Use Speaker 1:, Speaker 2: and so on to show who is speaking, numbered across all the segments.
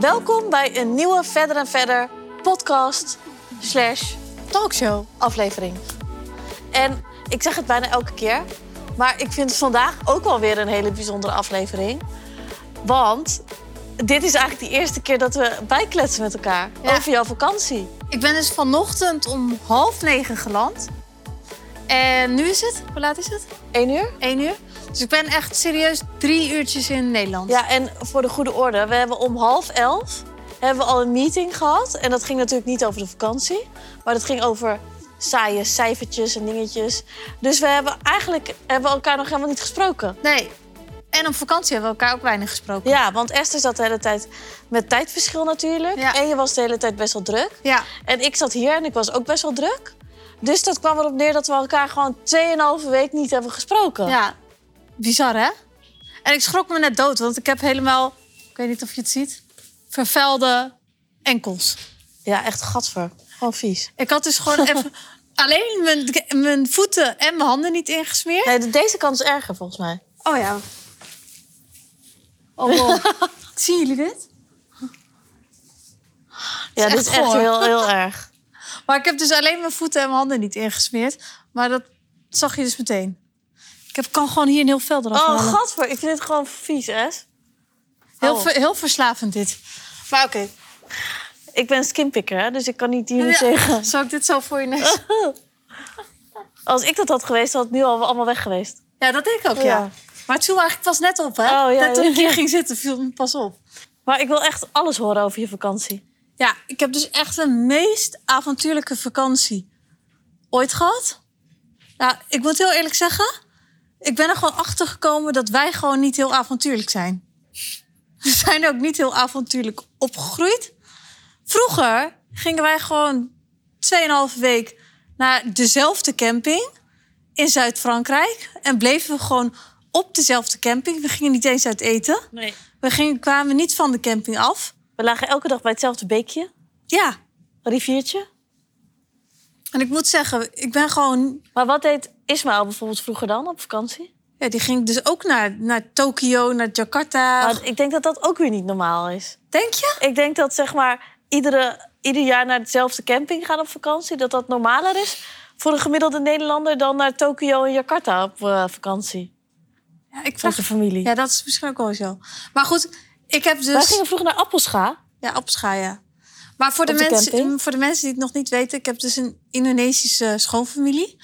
Speaker 1: Welkom bij een nieuwe Verder en Verder podcast slash
Speaker 2: Talkshow.
Speaker 1: aflevering. En ik zeg het bijna elke keer, maar ik vind het vandaag ook wel weer een hele bijzondere aflevering. Want dit is eigenlijk de eerste keer dat we bijkletsen met elkaar
Speaker 2: Ja.
Speaker 1: over jouw vakantie.
Speaker 2: Ik ben dus vanochtend om half negen geland. En nu is het, hoe laat is het?
Speaker 1: Eén uur?
Speaker 2: Eén uur. Dus ik ben echt serieus drie uurtjes in Nederland.
Speaker 1: Ja, en voor de goede orde, we hebben om half elf hebben we al een meeting gehad. En dat ging natuurlijk niet over de vakantie, maar dat ging over saaie cijfertjes en dingetjes. Dus we hebben eigenlijk hebben we elkaar nog helemaal niet gesproken.
Speaker 2: Nee. En op vakantie hebben we elkaar ook weinig gesproken.
Speaker 1: Ja, want Esther zat de hele tijd met tijdverschil natuurlijk.
Speaker 2: Ja.
Speaker 1: En je was de hele tijd best wel druk.
Speaker 2: Ja.
Speaker 1: En ik zat hier en ik was ook best wel druk. Dus dat kwam erop neer dat we elkaar gewoon 2,5 week niet hebben gesproken.
Speaker 2: Ja. Bizar, hè? En ik schrok me net dood, want ik heb helemaal, ik weet niet of je het ziet, vervuilde enkels.
Speaker 1: Ja, echt gadver. Gewoon vies.
Speaker 2: Ik had dus gewoon even alleen mijn, mijn voeten en mijn handen niet ingesmeerd.
Speaker 1: Nee, de- deze kant is erger volgens mij.
Speaker 2: Oh ja. Oh wow. Zien jullie dit?
Speaker 1: Ja, dit is
Speaker 2: echt
Speaker 1: echt
Speaker 2: goor.
Speaker 1: heel, heel erg.
Speaker 2: Maar ik heb dus alleen mijn voeten en mijn handen niet ingesmeerd. Maar dat zag je dus meteen. Ik heb, kan gewoon hier een heel vel eraf
Speaker 1: Oh,
Speaker 2: halen.
Speaker 1: gadver. Ik vind het gewoon vies, hè?
Speaker 2: Heel,
Speaker 1: oh.
Speaker 2: ver- heel verslavend dit. Maar oké.
Speaker 1: Ik ben skinpicker, hè? Dus ik kan niet hier niet
Speaker 2: Ja,
Speaker 1: tegen.
Speaker 2: Zal ik dit zo voor je neus?
Speaker 1: Als ik dat had geweest, had het nu al allemaal weg geweest.
Speaker 2: Ja, dat denk ik ook, ja.
Speaker 1: Ja.
Speaker 2: Maar het viel eigenlijk pas net op, hè?
Speaker 1: Oh, ja,
Speaker 2: net toen ik
Speaker 1: ja.
Speaker 2: hier ging zitten, viel het me pas op.
Speaker 1: Maar ik wil echt alles horen over je vakantie.
Speaker 2: Ja, ik heb dus echt de meest avontuurlijke vakantie ooit gehad. Nou, ik moet heel eerlijk zeggen, ik ben er gewoon achter gekomen dat wij gewoon niet heel avontuurlijk zijn. We zijn ook niet heel avontuurlijk opgegroeid. Vroeger gingen wij gewoon 2,5 week naar dezelfde camping in Zuid-Frankrijk en bleven we gewoon op dezelfde camping. We gingen niet eens uit eten.
Speaker 1: Nee.
Speaker 2: We gingen, kwamen niet van de camping af.
Speaker 1: We lagen elke dag bij hetzelfde beekje,
Speaker 2: Ja,
Speaker 1: riviertje.
Speaker 2: En ik moet zeggen, ik ben gewoon.
Speaker 1: Maar wat deed Ismaël bijvoorbeeld vroeger dan op vakantie?
Speaker 2: Ja, die ging dus ook naar, naar Tokio, naar Jakarta.
Speaker 1: Maar ik denk dat dat ook weer niet normaal is.
Speaker 2: Denk je?
Speaker 1: Ik denk dat zeg maar iedere, ieder jaar naar dezelfde camping gaan op vakantie... dat dat normaler is voor een gemiddelde Nederlander... dan naar Tokio en Jakarta op eh, vakantie.
Speaker 2: Ja, ik vraag.
Speaker 1: Onze familie.
Speaker 2: Ja, dat is misschien ook wel zo. Maar goed, ik heb
Speaker 1: Wij
Speaker 2: dus.
Speaker 1: gingen vroeger naar Appelscha.
Speaker 2: Ja, opschaaien. Maar voor de,
Speaker 1: Op de
Speaker 2: mensen,
Speaker 1: camping?
Speaker 2: voor de mensen die het nog niet weten, ik heb dus een Indonesische schoonfamilie.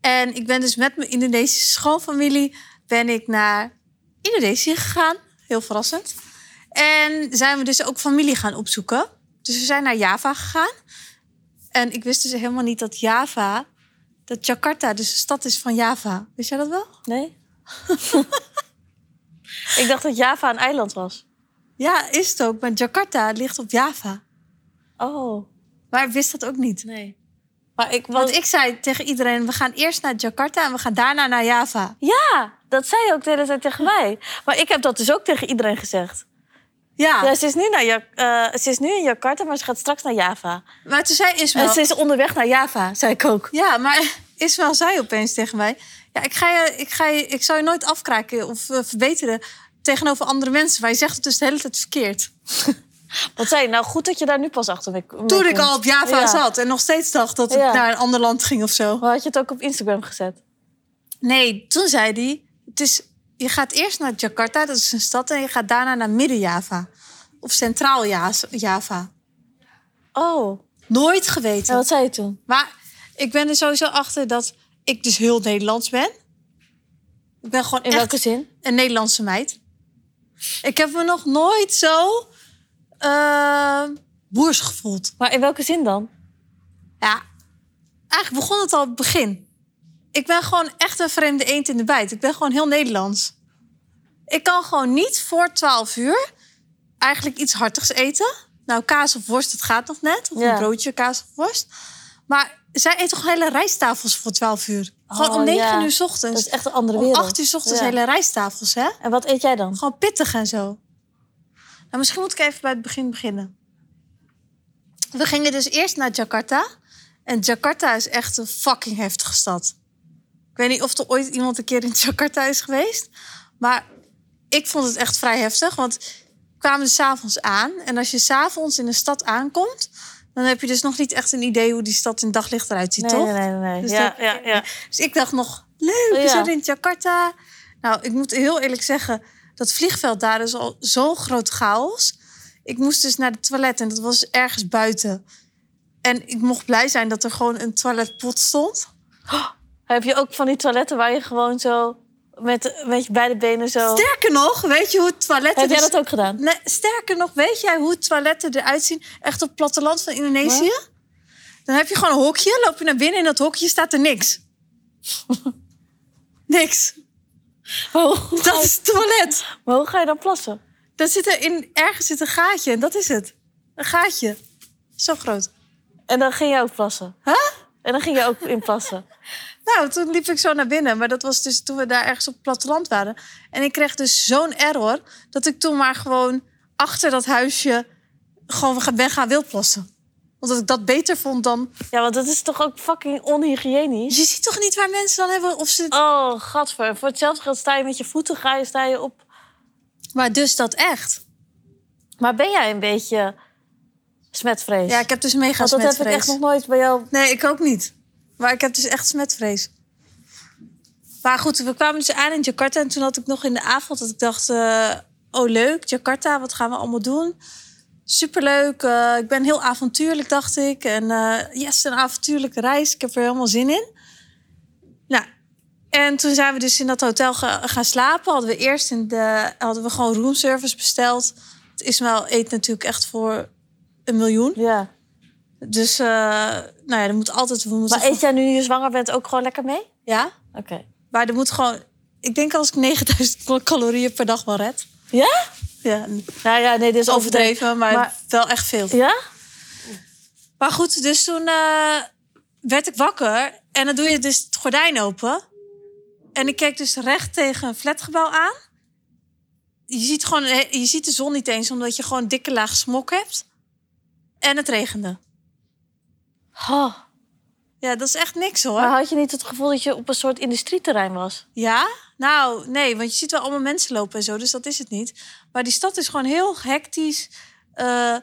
Speaker 2: En ik ben dus met mijn Indonesische schoonfamilie ben ik naar Indonesië gegaan. Heel verrassend. En zijn we dus ook familie gaan opzoeken. Dus we zijn naar Java gegaan. En ik wist dus helemaal niet dat Java, dat Jakarta dus de stad is van Java. Wist jij dat wel?
Speaker 1: Nee. ik dacht dat Java een eiland was.
Speaker 2: Ja, is het ook. Maar Jakarta ligt op Java.
Speaker 1: Oh,
Speaker 2: Maar ik wist dat ook niet.
Speaker 1: nee. Maar ik was...
Speaker 2: Want ik zei tegen iedereen, we gaan eerst naar Jakarta en we gaan daarna naar Java.
Speaker 1: Ja, dat zei je ook de hele tijd tegen mij. Maar ik heb dat dus ook tegen iedereen gezegd.
Speaker 2: Ja,
Speaker 1: Ja, ze, is nu naar Jak- eh, ze is nu in Jakarta, maar ze gaat straks naar Java.
Speaker 2: maar toen zei
Speaker 1: En
Speaker 2: Ismael...
Speaker 1: ze is onderweg naar Java, zei ik ook.
Speaker 2: Ja, maar Ismael zei opeens tegen mij... Ja, ik, ga je, ik, ga je, ik zou je nooit afkraken of eh, verbeteren tegenover andere mensen. Maar je zegt het dus de hele tijd verkeerd.
Speaker 1: Wat zei je? Nou, goed dat je daar nu pas achter mee mee
Speaker 2: Toen ik
Speaker 1: komt.
Speaker 2: al op Java
Speaker 1: Ja.
Speaker 2: zat en nog steeds dacht dat ik
Speaker 1: Ja.
Speaker 2: naar een ander land ging of zo.
Speaker 1: Maar had je het ook op Instagram gezet?
Speaker 2: Nee, toen zei hij... Het is, je gaat eerst naar Jakarta, dat is een stad... en je gaat daarna naar Midden-Java. Of Centraal-Java.
Speaker 1: Oh,
Speaker 2: Nooit geweten.
Speaker 1: en wat zei je toen?
Speaker 2: Maar ik ben er sowieso achter dat ik dus heel Nederlands ben. Ik ben gewoon
Speaker 1: In
Speaker 2: echt
Speaker 1: welke zin?
Speaker 2: een Nederlandse meid. Ik heb me nog nooit zo eh, boers gevoeld.
Speaker 1: Maar in welke zin dan?
Speaker 2: Ja, eigenlijk begon het al op het begin. Ik ben gewoon echt een vreemde eend in de bijt. Ik ben gewoon heel Nederlands. Ik kan gewoon niet voor 12 uur eigenlijk iets hartigs eten. Nou, kaas of worst, dat gaat nog net. Of
Speaker 1: Ja.
Speaker 2: een broodje kaas of worst. Maar zij eten gewoon hele rijsttafels voor 12 uur. Gewoon
Speaker 1: Oh,
Speaker 2: om 9
Speaker 1: ja.
Speaker 2: uur 's
Speaker 1: Dat
Speaker 2: ochtends.
Speaker 1: is echt een andere
Speaker 2: om
Speaker 1: wereld.
Speaker 2: 8 uur 's ochtends
Speaker 1: Ja.
Speaker 2: hele rijsttafels, hè?
Speaker 1: En wat eet jij dan?
Speaker 2: Gewoon pittig en zo. Nou, misschien moet ik even bij het begin beginnen. We gingen dus eerst naar Jakarta. En Jakarta is echt een fucking heftige stad. Ik weet niet of er ooit iemand een keer in Jakarta is geweest. Maar ik vond het echt vrij heftig. Want kwamen we s'avonds aan. En als je s'avonds in een stad aankomt, dan heb je dus nog niet echt een idee hoe die stad in het daglicht eruit ziet,
Speaker 1: Nee,
Speaker 2: toch?
Speaker 1: nee, nee. nee.
Speaker 2: Dus
Speaker 1: ja,
Speaker 2: dat-
Speaker 1: ja, ja. Oh,
Speaker 2: Dus ik dacht nog, leuk, we
Speaker 1: Ja.
Speaker 2: zijn in Jakarta. Nou, ik moet heel eerlijk zeggen, dat vliegveld daar is al zo'n groot chaos. Ik moest dus naar het toilet en dat was ergens buiten. En ik mocht blij zijn dat er gewoon een toiletpot stond.
Speaker 1: Heb je ook van die toiletten waar je gewoon zo met, met je beide benen zo...
Speaker 2: Sterker nog, weet je dus- hoe het toilet
Speaker 1: Oh. Heb jij dat ook gedaan?
Speaker 2: Nee, sterker nog, weet jij hoe toiletten eruit zien? Echt op het platteland van Indonesië? Dan heb je gewoon een hokje, loop je naar binnen... in dat hokje staat er niks. niks.
Speaker 1: Oh.
Speaker 2: Dat is het toilet.
Speaker 1: Maar hoe ga je dan plassen?
Speaker 2: Dan zit er in, ergens zit een gaatje en dat is het. Een gaatje. Zo groot.
Speaker 1: En dan ging je ook plassen.
Speaker 2: Huh?
Speaker 1: En dan ging je ook in plassen.
Speaker 2: Nou, toen liep ik zo naar binnen. Maar dat was dus toen we daar ergens op het platteland waren. En ik kreeg dus zo'n error... dat ik toen maar gewoon achter dat huisje... gewoon ga- ben gaan wildplassen. Omdat ik dat beter vond dan...
Speaker 1: Ja, want dat is toch ook fucking onhygiënisch?
Speaker 2: Je ziet toch niet waar mensen dan hebben... of ze het
Speaker 1: Oh, gadver. Voor hetzelfde geld sta je met je voeten, ga je, sta je op.
Speaker 2: Maar dus dat echt.
Speaker 1: Maar ben jij een beetje smetvrees?
Speaker 2: Ja, ik heb dus mega
Speaker 1: Want dat
Speaker 2: smetvrees.
Speaker 1: heb ik echt nog nooit bij jou.
Speaker 2: Nee, ik ook niet. Maar ik heb dus echt smetvrees. Maar goed, we kwamen dus aan in Jakarta. En toen had ik nog in de avond dat ik dacht... eh, oh, leuk, Jakarta, wat gaan we allemaal doen? Superleuk. eh, ik ben heel avontuurlijk, dacht ik. En eh, yes, een avontuurlijke reis. Ik heb er helemaal zin in. Nou, en toen zijn we dus in dat hotel ga- gaan slapen. Hadden we eerst in de, hadden we gewoon roomservice besteld. Want Ismaël eet natuurlijk echt voor een miljoen.
Speaker 1: Ja.
Speaker 2: Dus, eh, nou ja, er moet altijd... We moeten
Speaker 1: Maar eet jij nu je zwanger bent ook gewoon lekker mee?
Speaker 2: Ja,
Speaker 1: Oké.
Speaker 2: maar er moet gewoon... Ik denk als ik 9000 calorieën per dag wel red.
Speaker 1: Ja?
Speaker 2: Ja, dat
Speaker 1: Nou ja, nee, dit
Speaker 2: is overdreven, maar,
Speaker 1: Maar-
Speaker 2: wel echt veel.
Speaker 1: Ja?
Speaker 2: Maar goed, dus toen eh, werd ik wakker. En dan doe je dus het gordijn open. En ik keek dus recht tegen een flatgebouw aan. Je ziet, gewoon, eh, je ziet de zon niet eens, omdat je gewoon een dikke laag smok hebt. En het regende.
Speaker 1: Oh,
Speaker 2: Ja, dat is echt niks hoor.
Speaker 1: maar had je niet het gevoel dat je op een soort industrieterrein was?
Speaker 2: Ja? Nou, nee, want je ziet wel allemaal mensen lopen en zo, dus dat is het niet. Maar die stad is gewoon heel hectisch. eh,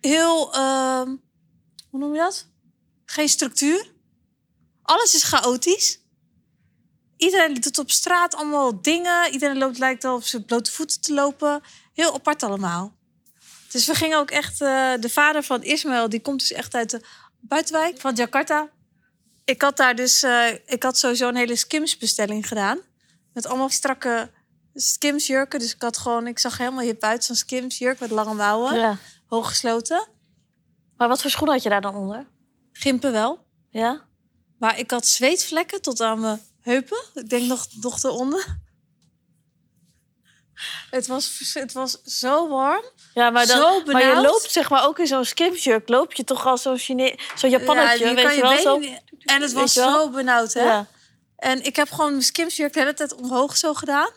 Speaker 2: heel, ehm, hoe noem je dat? Geen structuur. Alles is chaotisch. Iedereen doet op straat allemaal dingen. Iedereen loopt, lijkt wel op zijn blote voeten te lopen. Heel apart allemaal. Dus we gingen ook echt... eh, de vader van Ismaël, die komt dus echt uit de buitenwijk van Jakarta. Ik had daar dus, eh, ik had sowieso een hele skimsbestelling gedaan. Met allemaal strakke skimsjurken. Dus ik had gewoon, ik zag helemaal hip uit, zo'n skimsjurk met lange mouwen,
Speaker 1: Ja.
Speaker 2: hooggesloten.
Speaker 1: Maar wat voor schoenen had je daar dan onder?
Speaker 2: Gimpen wel.
Speaker 1: Ja?
Speaker 2: Maar ik had zweetvlekken tot aan mijn heupen. Ik denk nog, nog eronder. Het was, vers- het was zo warm.
Speaker 1: Ja, maar, dan,
Speaker 2: Zo
Speaker 1: maar je
Speaker 2: benauwd.
Speaker 1: loopt zeg maar ook in zo'n skimjurk. Loop je toch als zo'n Chine- zo'n Japannetje,
Speaker 2: Ja, je
Speaker 1: weet
Speaker 2: kan
Speaker 1: je wel?
Speaker 2: benen
Speaker 1: Zo...
Speaker 2: niet- En
Speaker 1: weet
Speaker 2: het was
Speaker 1: je wel?
Speaker 2: zo benauwd, hè?
Speaker 1: Ja.
Speaker 2: En ik heb gewoon mijn skimsjurk de hele tijd omhoog zo gedaan.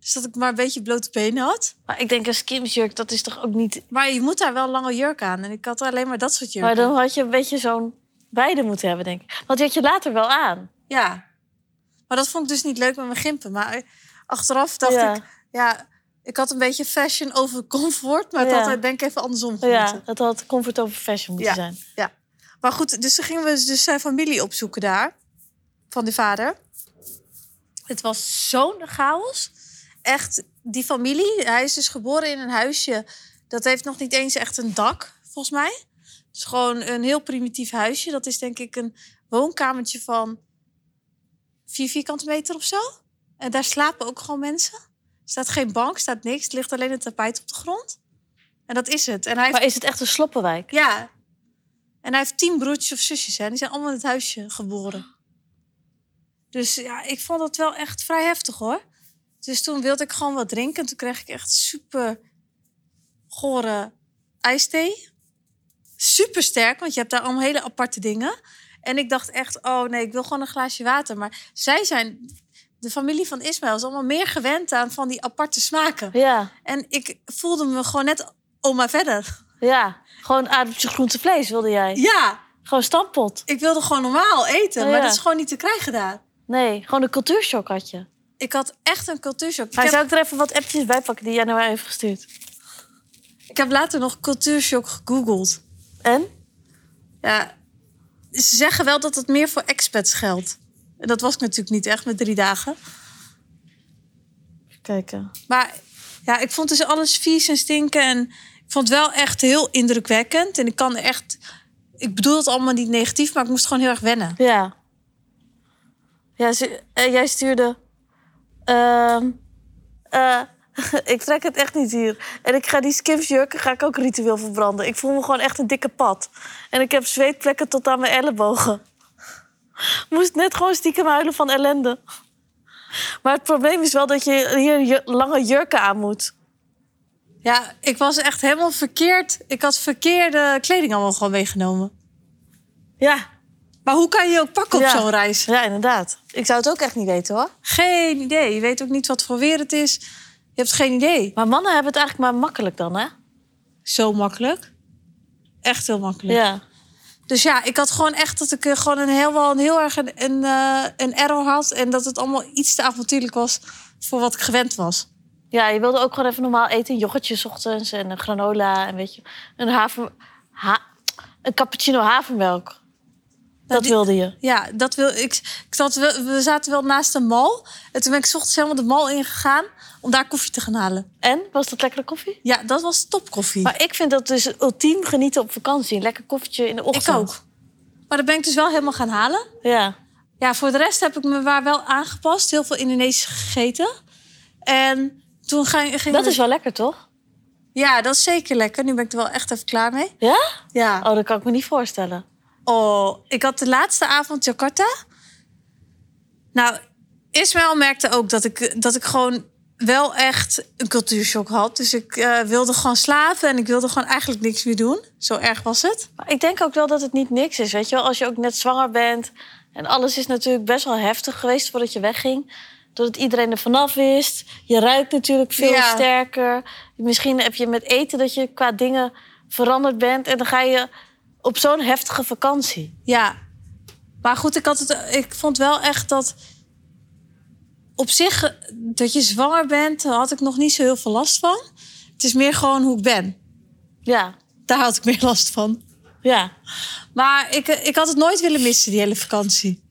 Speaker 2: Dus dat ik maar een beetje blote benen had.
Speaker 1: Maar ik denk een skimjurk, dat is toch ook niet...
Speaker 2: Maar je moet daar wel een lange jurk aan. En ik had alleen maar dat soort jurken.
Speaker 1: Maar dan had je een beetje zo'n beide moeten hebben, denk ik. Want die had je later wel aan.
Speaker 2: Ja. Maar dat vond ik dus niet leuk met mijn gimpen. Maar achteraf dacht
Speaker 1: Ja.
Speaker 2: ik... Ja, ik had een beetje fashion over comfort. Maar het
Speaker 1: Ja.
Speaker 2: had eh, denk ik even andersom gemoeten.
Speaker 1: Ja, dat had comfort over fashion moeten
Speaker 2: Ja.
Speaker 1: zijn.
Speaker 2: Maar goed, dus toen gingen we dus zijn familie opzoeken daar. Van de vader. Het was zo'n chaos. Echt, die familie, hij is dus geboren in een huisje. Dat heeft nog niet eens echt een dak, volgens mij. Het is gewoon een heel primitief huisje. Dat is denk ik een woonkamertje van vier vierkante meter of zo. En daar slapen ook gewoon mensen. Er staat geen bank, staat niks. Er ligt alleen een tapijt op de grond. En dat is het. En hij heeft
Speaker 1: Maar is het echt een sloppenwijk?
Speaker 2: ja. En hij heeft tien broertjes of zusjes. Hè? Die zijn allemaal in het huisje geboren. Dus ja, ik vond dat wel echt vrij heftig hoor. Dus toen wilde ik gewoon wat drinken. Toen kreeg ik echt super gore ijsthee. Super sterk, want je hebt daar allemaal hele aparte dingen. En ik dacht echt, oh nee, ik wil gewoon een glaasje water. Maar zij zijn, de familie van Ismaël is allemaal meer gewend aan van die aparte smaken.
Speaker 1: Ja,
Speaker 2: En ik voelde me gewoon net oma verder.
Speaker 1: ja. Gewoon aardappeltje groente vlees wilde jij.
Speaker 2: Ja,
Speaker 1: Gewoon stampot.
Speaker 2: ik wilde gewoon normaal eten,
Speaker 1: Ja,
Speaker 2: maar
Speaker 1: Oh ja.
Speaker 2: dat is gewoon niet te krijgen daar.
Speaker 1: Nee, gewoon een cultuurshock had je.
Speaker 2: ik had echt een cultuurshock. Ik
Speaker 1: Maar
Speaker 2: heb,
Speaker 1: zou ik er even wat appjes bij pakken die jij nou heeft gestuurd?
Speaker 2: ik heb later nog cultuurshock gegoogeld.
Speaker 1: En?
Speaker 2: Ja, ze zeggen wel dat het meer voor expats geldt. En Dat was ik natuurlijk niet echt met drie dagen.
Speaker 1: Even kijken.
Speaker 2: Maar ja, ik vond dus alles vies en stinken. En ik vond het wel echt heel indrukwekkend. En ik kan echt... Ik bedoel het allemaal niet negatief, maar ik moest gewoon heel erg wennen.
Speaker 1: Ja. ja ze- eh, jij stuurde. ehm, eh, ik trek het echt niet hier. En ik ga die skimsjurken ga ik ook ritueel verbranden. Ik voel me gewoon echt een dikke pad. En ik heb zweetplekken tot aan mijn ellebogen. Moest net gewoon stiekem huilen van ellende. Maar het probleem is wel dat je hier ju- lange jurken aan moet.
Speaker 2: Ja, ik was echt helemaal verkeerd. Ik had verkeerde kleding allemaal gewoon meegenomen.
Speaker 1: Ja,
Speaker 2: Maar hoe kan je je ook pakken op
Speaker 1: Ja.
Speaker 2: zo'n reis?
Speaker 1: ja inderdaad. Ik zou het ook echt niet weten hoor.
Speaker 2: Geen idee. Je weet ook niet wat voor weer het is. Je hebt geen idee.
Speaker 1: Maar mannen hebben het eigenlijk maar makkelijk dan, hè?
Speaker 2: Zo makkelijk. Echt heel makkelijk.
Speaker 1: Ja.
Speaker 2: Dus ja, ik had gewoon echt dat ik eh, gewoon een heel, wel een heel erg een, een, eh, een error had. En dat het allemaal iets te avontuurlijk was voor wat ik gewend was.
Speaker 1: Ja, je wilde ook gewoon even normaal eten. Yoghurtjes 's ochtends en een granola en weet je, een haver... Ha, een cappuccino havermelk. dat
Speaker 2: Nou, die-
Speaker 1: wilde je.
Speaker 2: Ja, dat wil ik. ik zat, wel- we zaten wel naast een mal. En toen ben ik 's ochtends helemaal de mal ingegaan om daar koffie te gaan halen.
Speaker 1: En, was dat lekkere koffie?
Speaker 2: Ja, dat was topkoffie.
Speaker 1: Maar ik vind dat dus ultiem genieten op vakantie. Een lekker koffietje in de ochtend.
Speaker 2: ik ook. Maar dat ben ik dus wel helemaal gaan halen.
Speaker 1: Ja.
Speaker 2: Ja, voor de rest heb ik me waar wel aangepast. Heel veel Indonesisch gegeten. En toen ging, ging
Speaker 1: Dat is wel lekker, toch?
Speaker 2: Ja, dat is zeker lekker. Nu ben ik er wel echt even klaar mee.
Speaker 1: Ja?
Speaker 2: Ja.
Speaker 1: Oh, dat kan ik me niet voorstellen.
Speaker 2: Oh, ik had de laatste avond Jakarta. Nou, Ismaël merkte ook dat ik, dat ik gewoon wel echt een cultuurshock had. Dus ik eh, wilde gewoon slapen en ik wilde gewoon eigenlijk niks meer doen. Zo erg was het.
Speaker 1: Maar ik denk ook wel dat het niet niks is, weet je wel. Als je ook net zwanger bent en alles is natuurlijk best wel heftig geweest voordat je wegging. Doordat iedereen er vanaf wist. Je ruikt natuurlijk veel
Speaker 2: Ja.
Speaker 1: sterker. Misschien heb je met eten dat je qua dingen veranderd bent. En dan ga je op zo'n heftige vakantie.
Speaker 2: Ja. Maar goed, ik, had het, ik vond wel echt dat... Op zich, eh, dat je zwanger bent, daar had ik nog niet zo heel veel last van. Het is meer gewoon hoe ik ben.
Speaker 1: Ja,
Speaker 2: Daar had ik meer last van.
Speaker 1: ja.
Speaker 2: Maar ik, eh, ik had het nooit willen missen, die hele vakantie.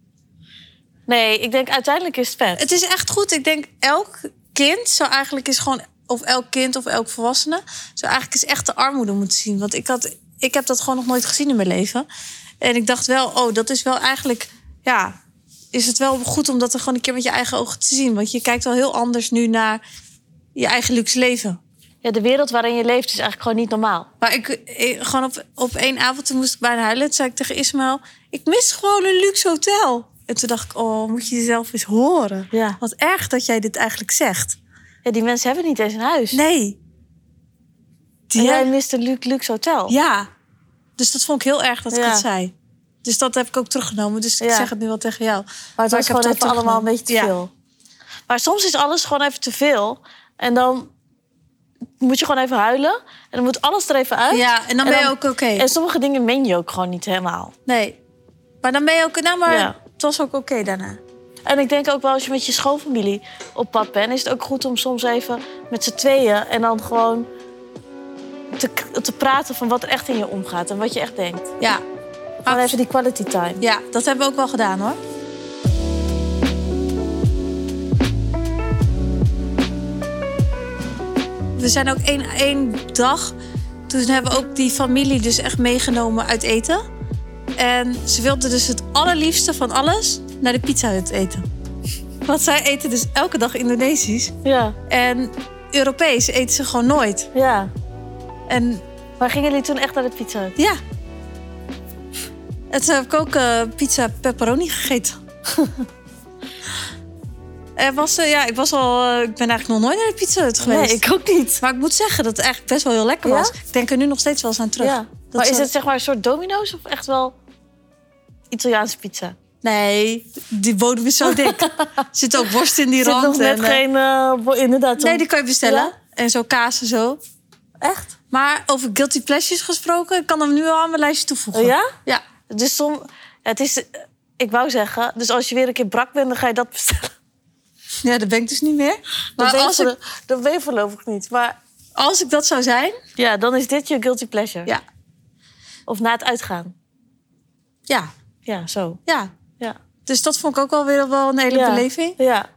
Speaker 1: Nee, ik denk uiteindelijk is het vet.
Speaker 2: Het is echt goed. Ik denk elk kind zou eigenlijk is gewoon of elk kind of elk volwassene zou eigenlijk eens echt de armoede moeten zien. Want ik had, ik heb dat gewoon nog nooit gezien in mijn leven. En ik dacht wel, oh, dat is wel eigenlijk, ja, is het wel goed om dat er gewoon een keer met je eigen ogen te zien. Want je kijkt wel heel anders nu naar je eigen luxe leven.
Speaker 1: Ja, de wereld waarin je leeft is eigenlijk gewoon niet normaal.
Speaker 2: Maar ik, ik- gewoon op, op één avond toen moest ik bijna huilen. Toen zei ik tegen Ismaël, ik mis gewoon een luxe hotel. En toen dacht ik, oh, moet je jezelf eens horen.
Speaker 1: Ja.
Speaker 2: Wat erg dat jij dit eigenlijk zegt.
Speaker 1: ja die mensen hebben niet eens een huis.
Speaker 2: Nee. Die
Speaker 1: En jij
Speaker 2: jij-
Speaker 1: mist een luxe, luxe hotel.
Speaker 2: Ja. Dus dat vond ik heel erg dat ik
Speaker 1: Ja.
Speaker 2: het zei. Dus dat heb ik ook teruggenomen. Dus ik
Speaker 1: Ja.
Speaker 2: zeg het nu wel tegen jou.
Speaker 1: Maar het
Speaker 2: Maar
Speaker 1: was
Speaker 2: ik heb
Speaker 1: gewoon
Speaker 2: het
Speaker 1: even
Speaker 2: ook
Speaker 1: allemaal een
Speaker 2: teruggenomen.
Speaker 1: beetje te veel. Maar soms is alles gewoon even te veel. En dan moet je gewoon even huilen. En dan moet alles er even uit.
Speaker 2: Ja, en dan
Speaker 1: En
Speaker 2: ben je
Speaker 1: dan-
Speaker 2: ook oké.
Speaker 1: En sommige dingen meen je ook gewoon niet helemaal.
Speaker 2: Nee. Maar dan ben je ook... Nou, maar
Speaker 1: Ja.
Speaker 2: het was ook oké daarna.
Speaker 1: En ik denk ook wel als je met je schoonfamilie op pad bent... is het ook goed om soms even met z'n tweeën... en dan gewoon te, k- te praten van wat er echt in je omgaat... en wat je echt denkt.
Speaker 2: Ja.
Speaker 1: Gewoon even die quality time.
Speaker 2: Ja, dat hebben we ook wel gedaan hoor. We zijn ook één, één dag. Toen hebben we ook die familie dus echt meegenomen uit eten. En ze wilden dus het allerliefste van alles naar de pizza Hut eten. Want zij eten dus elke dag Indonesisch.
Speaker 1: Ja,
Speaker 2: En Europees eten ze gewoon nooit.
Speaker 1: ja.
Speaker 2: En
Speaker 1: Maar gingen jullie toen echt naar de pizza? Hut?
Speaker 2: ja. En toen heb ik ook eh, pizza pepperoni gegeten. Er was, eh, ja, ik, was al, eh, ik ben eigenlijk nog nooit naar de Pizza Hut geweest.
Speaker 1: Nee, ik ook niet.
Speaker 2: Maar ik moet zeggen dat het eigenlijk best wel heel lekker
Speaker 1: Ja?
Speaker 2: was. Ik denk er nu nog steeds wel eens aan terug.
Speaker 1: Ja. maar is
Speaker 2: zou-
Speaker 1: het zeg maar een soort domino's of echt wel Italiaanse pizza?
Speaker 2: Nee, die bodem is zo dik. er zit ook worst in die
Speaker 1: Er zit
Speaker 2: rand.
Speaker 1: nog net
Speaker 2: en, eh,
Speaker 1: geen... eh, wo- inderdaad.
Speaker 2: Nee, die kan je bestellen.
Speaker 1: Ja.
Speaker 2: En zo kaas en zo.
Speaker 1: Echt?
Speaker 2: Maar over guilty pleasures gesproken, ik kan hem nu al aan mijn lijstje toevoegen.
Speaker 1: Oh, ja?
Speaker 2: Ja.
Speaker 1: Dus som... ja, het is... eh, Ik wou zeggen, dus als je weer een keer brak bent, dan ga je dat bestellen.
Speaker 2: Ja, dat ben ik dus niet meer.
Speaker 1: Dat
Speaker 2: Maar
Speaker 1: weet,
Speaker 2: als
Speaker 1: ik...
Speaker 2: ik,
Speaker 1: voorlo- dat weet ik voorlopig niet. Maar
Speaker 2: als ik dat zou zijn...
Speaker 1: ja, dan is dit je guilty pleasure.
Speaker 2: Ja,
Speaker 1: Of na het uitgaan.
Speaker 2: ja,
Speaker 1: Ja, zo.
Speaker 2: ja.
Speaker 1: Ja.
Speaker 2: Dus dat vond ik ook wel weer wel een hele
Speaker 1: ja.
Speaker 2: beleving.
Speaker 1: Ja.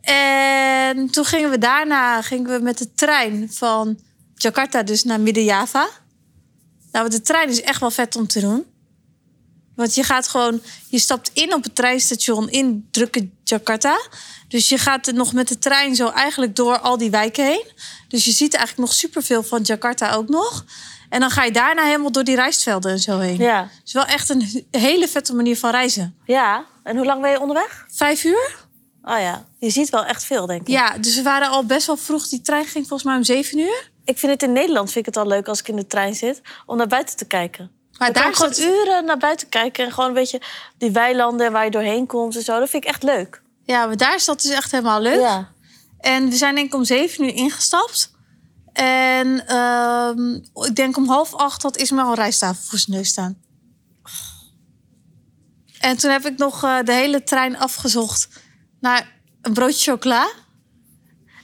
Speaker 2: En toen gingen we daarna gingen we met de trein van Jakarta dus naar Midden-Java. Nou, de trein is echt wel vet om te doen. Want je gaat gewoon, je stapt in op het treinstation in drukke Jakarta. Dus je gaat nog met de trein zo eigenlijk door al die wijken heen. Dus je ziet eigenlijk nog superveel van Jakarta ook nog. En dan ga je daarna helemaal door die rijstvelden en zo heen.
Speaker 1: Ja.
Speaker 2: Het is wel echt een hele vette manier van reizen.
Speaker 1: Ja. En hoe lang ben je onderweg?
Speaker 2: Vijf uur?
Speaker 1: Oh ja. Je ziet wel echt veel, denk ik.
Speaker 2: Ja, dus we waren al best wel vroeg. Die trein ging volgens mij om zeven uur.
Speaker 1: Ik vind het in Nederland vind ik het al leuk als ik in de trein zit om naar buiten te kijken.
Speaker 2: Maar
Speaker 1: Dan kan
Speaker 2: daar
Speaker 1: ik gewoon
Speaker 2: zat-
Speaker 1: uren naar buiten kijken en gewoon een beetje die weilanden waar je doorheen komt en zo. Dat vind ik echt leuk.
Speaker 2: Ja, maar daar is dat dus echt helemaal leuk.
Speaker 1: Ja.
Speaker 2: En we zijn denk ik om zeven uur ingestapt. En ehm, ik denk om half acht had Ismael een rijsttafel voor zijn neus staan. En toen heb ik nog eh, de hele trein afgezocht naar een broodje chocola.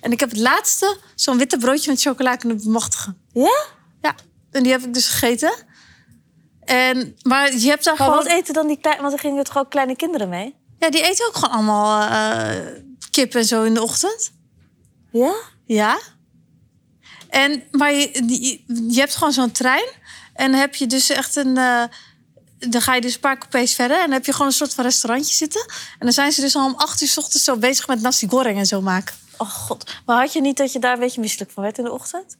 Speaker 2: En ik heb het laatste, zo'n witte broodje met chocola kunnen bemachtigen.
Speaker 1: Ja?
Speaker 2: Ja, en die heb ik dus gegeten. En, maar je hebt daar
Speaker 1: Maar
Speaker 2: gewoon... e-
Speaker 1: wat eten dan die kleine... Want dan gingen het gewoon kleine kinderen mee.
Speaker 2: Ja, die eten ook gewoon allemaal eh, kip en zo in de ochtend.
Speaker 1: Ja?
Speaker 2: Ja. En, maar je, die- je hebt gewoon zo'n trein. En dan heb je dus echt een... eh, dan ga je dus een paar coupés verder. En dan heb je gewoon een soort van restaurantje zitten. En dan zijn ze dus al om acht uur 's ochtends zo bezig met nasi goreng en zo maken.
Speaker 1: Oh god. Maar had je niet dat je daar een beetje misselijk van werd in de ochtend?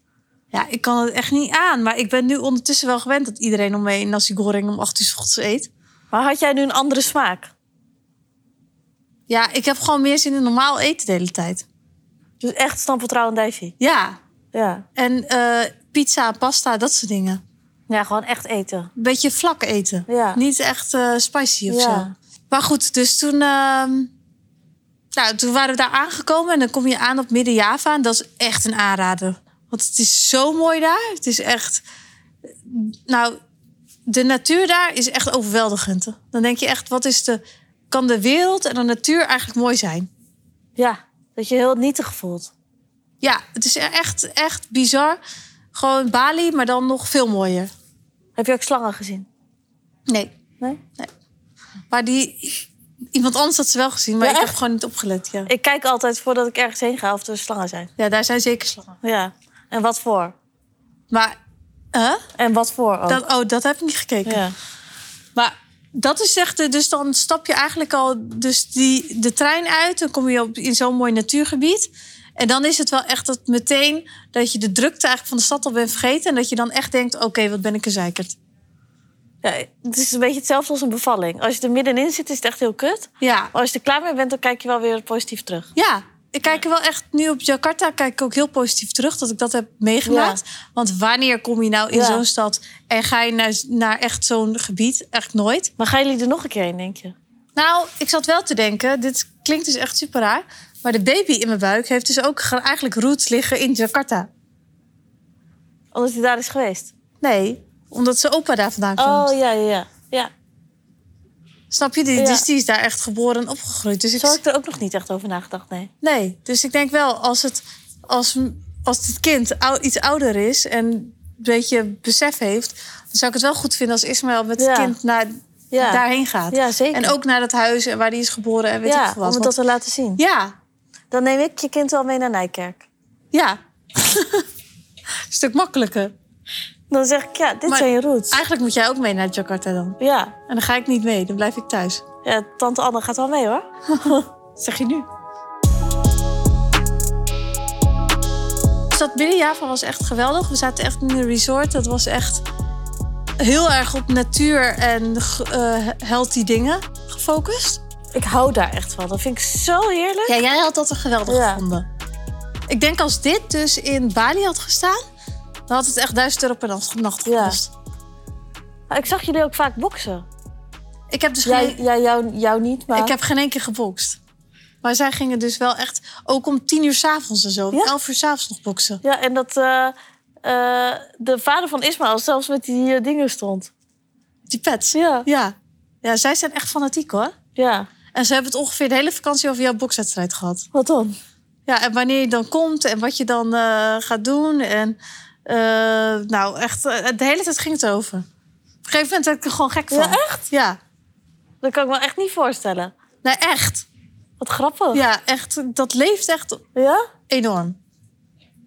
Speaker 2: Ja, ik kan het echt niet aan. Maar ik ben nu ondertussen wel gewend dat iedereen om me een nasi goreng om acht uur 's ochtends eet.
Speaker 1: Maar had jij nu een andere smaak?
Speaker 2: Ja, ik heb gewoon meer zin in normaal eten de hele tijd.
Speaker 1: Dus echt stamppotrouw en dijfie?
Speaker 2: Ja.
Speaker 1: Ja.
Speaker 2: En eh, pizza, pasta, dat soort dingen.
Speaker 1: Ja, gewoon echt eten.
Speaker 2: Een beetje vlak eten.
Speaker 1: Ja.
Speaker 2: Niet echt eh, spicy of
Speaker 1: Ja.
Speaker 2: zo. Maar goed, dus toen, ehm, nou, toen waren we daar aangekomen. En dan kom je aan op Midden-Java. En dat is echt een aanrader. Want het is zo mooi daar. Het is echt... Nou, de natuur daar is echt overweldigend. Dan denk je echt, wat is de... Kan de wereld en de natuur eigenlijk mooi zijn?
Speaker 1: Ja. Dat je heel nietig voelt.
Speaker 2: Ja, het is e-, echt, echt bizar. Gewoon Bali, maar dan nog veel mooier.
Speaker 1: Heb je ook slangen gezien?
Speaker 2: Nee.
Speaker 1: Nee?
Speaker 2: Maar die... Iemand anders had ze wel gezien, maar
Speaker 1: Ja,
Speaker 2: ik heb
Speaker 1: echt?
Speaker 2: gewoon niet opgelet. Ja.
Speaker 1: Ik kijk altijd voordat ik ergens heen ga of er slangen zijn.
Speaker 2: ja, daar zijn zeker slangen.
Speaker 1: Ja. En wat voor?
Speaker 2: Maar, hè?
Speaker 1: En wat voor ook.
Speaker 2: Dat, oh, dat heb ik niet gekeken.
Speaker 1: Ja.
Speaker 2: Maar dat is echt, eh, dus dan stap je eigenlijk al dus die, de trein uit. Dan kom je op, in zo'n mooi natuurgebied. En dan is het wel echt dat meteen dat je de drukte eigenlijk van de stad al bent vergeten. En dat je dan echt denkt, oké, wat ben ik een zeikerd.
Speaker 1: Ja, het is een beetje hetzelfde als een bevalling. Als je er middenin zit, is het echt heel kut.
Speaker 2: Ja,
Speaker 1: Maar als je er klaar mee bent, dan kijk je wel weer positief terug.
Speaker 2: Ja, ik kijk er wel echt nu op Jakarta kijk ik ook heel positief terug dat ik dat heb meegemaakt. Want wanneer kom je nou in
Speaker 1: Ja.
Speaker 2: zo'n stad en ga je naar, naar echt zo'n gebied? Echt nooit.
Speaker 1: Maar gaan jullie er nog een keer heen, denk je?
Speaker 2: Nou, ik zat wel te denken, dit klinkt dus echt super raar. Maar de baby in mijn buik heeft dus ook ge- eigenlijk roots liggen in Jakarta.
Speaker 1: Omdat hij daar is geweest.
Speaker 2: Nee, omdat zijn opa daar vandaan komt.
Speaker 1: Oh, ja, ja, ja. ja.
Speaker 2: Snap je? Die,
Speaker 1: Ja.
Speaker 2: Dus die is daar echt geboren en opgegroeid. Dus ik,
Speaker 1: Zo had ik er ook nog niet echt over nagedacht, nee.
Speaker 2: Nee, dus ik denk wel, als het, als, als dit kind ou- iets ouder is en een beetje besef heeft, dan zou ik het wel goed vinden als Ismaël met
Speaker 1: Ja.
Speaker 2: het kind naar,
Speaker 1: Ja,
Speaker 2: daarheen gaat.
Speaker 1: ja zeker.
Speaker 2: En ook naar dat huis en waar hij is geboren en weet
Speaker 1: ja,
Speaker 2: ik veel
Speaker 1: om
Speaker 2: wat.
Speaker 1: het dat
Speaker 2: Want-
Speaker 1: te laten zien.
Speaker 2: Ja,
Speaker 1: Dan neem ik je kind wel mee naar Nijkerk.
Speaker 2: ja. Een stuk makkelijker.
Speaker 1: Dan zeg ik, ja, dit
Speaker 2: Maar- Ah.
Speaker 1: zijn je roots.
Speaker 2: Eigenlijk moet jij ook mee naar Jakarta dan.
Speaker 1: Ja.
Speaker 2: En dan ga ik niet mee, dan blijf ik thuis.
Speaker 1: ja, tante Anne gaat wel mee, hoor.
Speaker 2: Dat zeg je nu. Dus dat binnenjava was echt geweldig. We zaten echt in een resort. Dat was echt heel erg op natuur en ge- eh, healthy dingen gefocust.
Speaker 1: Ik hou daar echt van. Dat vind ik zo heerlijk.
Speaker 2: Ja, jij had dat een geweldig
Speaker 1: Ja.
Speaker 2: gevonden. Ik denk als dit dus in Bali had gestaan, dan had het echt duizend euro per nacht, nacht
Speaker 1: Ja.
Speaker 2: gekost.
Speaker 1: Maar Ik zag jullie ook vaak boksen.
Speaker 2: Ik heb dus
Speaker 1: Jij,
Speaker 2: geen,
Speaker 1: jij jou, jou niet, maar...
Speaker 2: ik heb geen één keer gebokst. Maar zij gingen dus wel echt, ook om tien uur s'avonds en zo, om
Speaker 1: Ja?
Speaker 2: elf uur s'avonds nog boksen.
Speaker 1: Ja, en dat eh, eh, de vader van Ismaël zelfs met die eh, dingen stond.
Speaker 2: Die pets.
Speaker 1: Ja,
Speaker 2: Ja. ja, zij zijn echt fanatiek hoor.
Speaker 1: ja.
Speaker 2: En ze hebben het ongeveer de hele vakantie over jouw bokswedstrijd gehad.
Speaker 1: Wat dan?
Speaker 2: Ja, en wanneer je dan komt en wat je dan eh, gaat doen. En eh, nou, echt, eh, de hele tijd ging het over. Op een gegeven moment werd ik er gewoon gek van.
Speaker 1: Ja, echt?
Speaker 2: Ja.
Speaker 1: Dat kan ik me echt niet voorstellen.
Speaker 2: Nee, echt.
Speaker 1: Wat grappig. Ja?
Speaker 2: Ja, echt. Dat leeft echt enorm.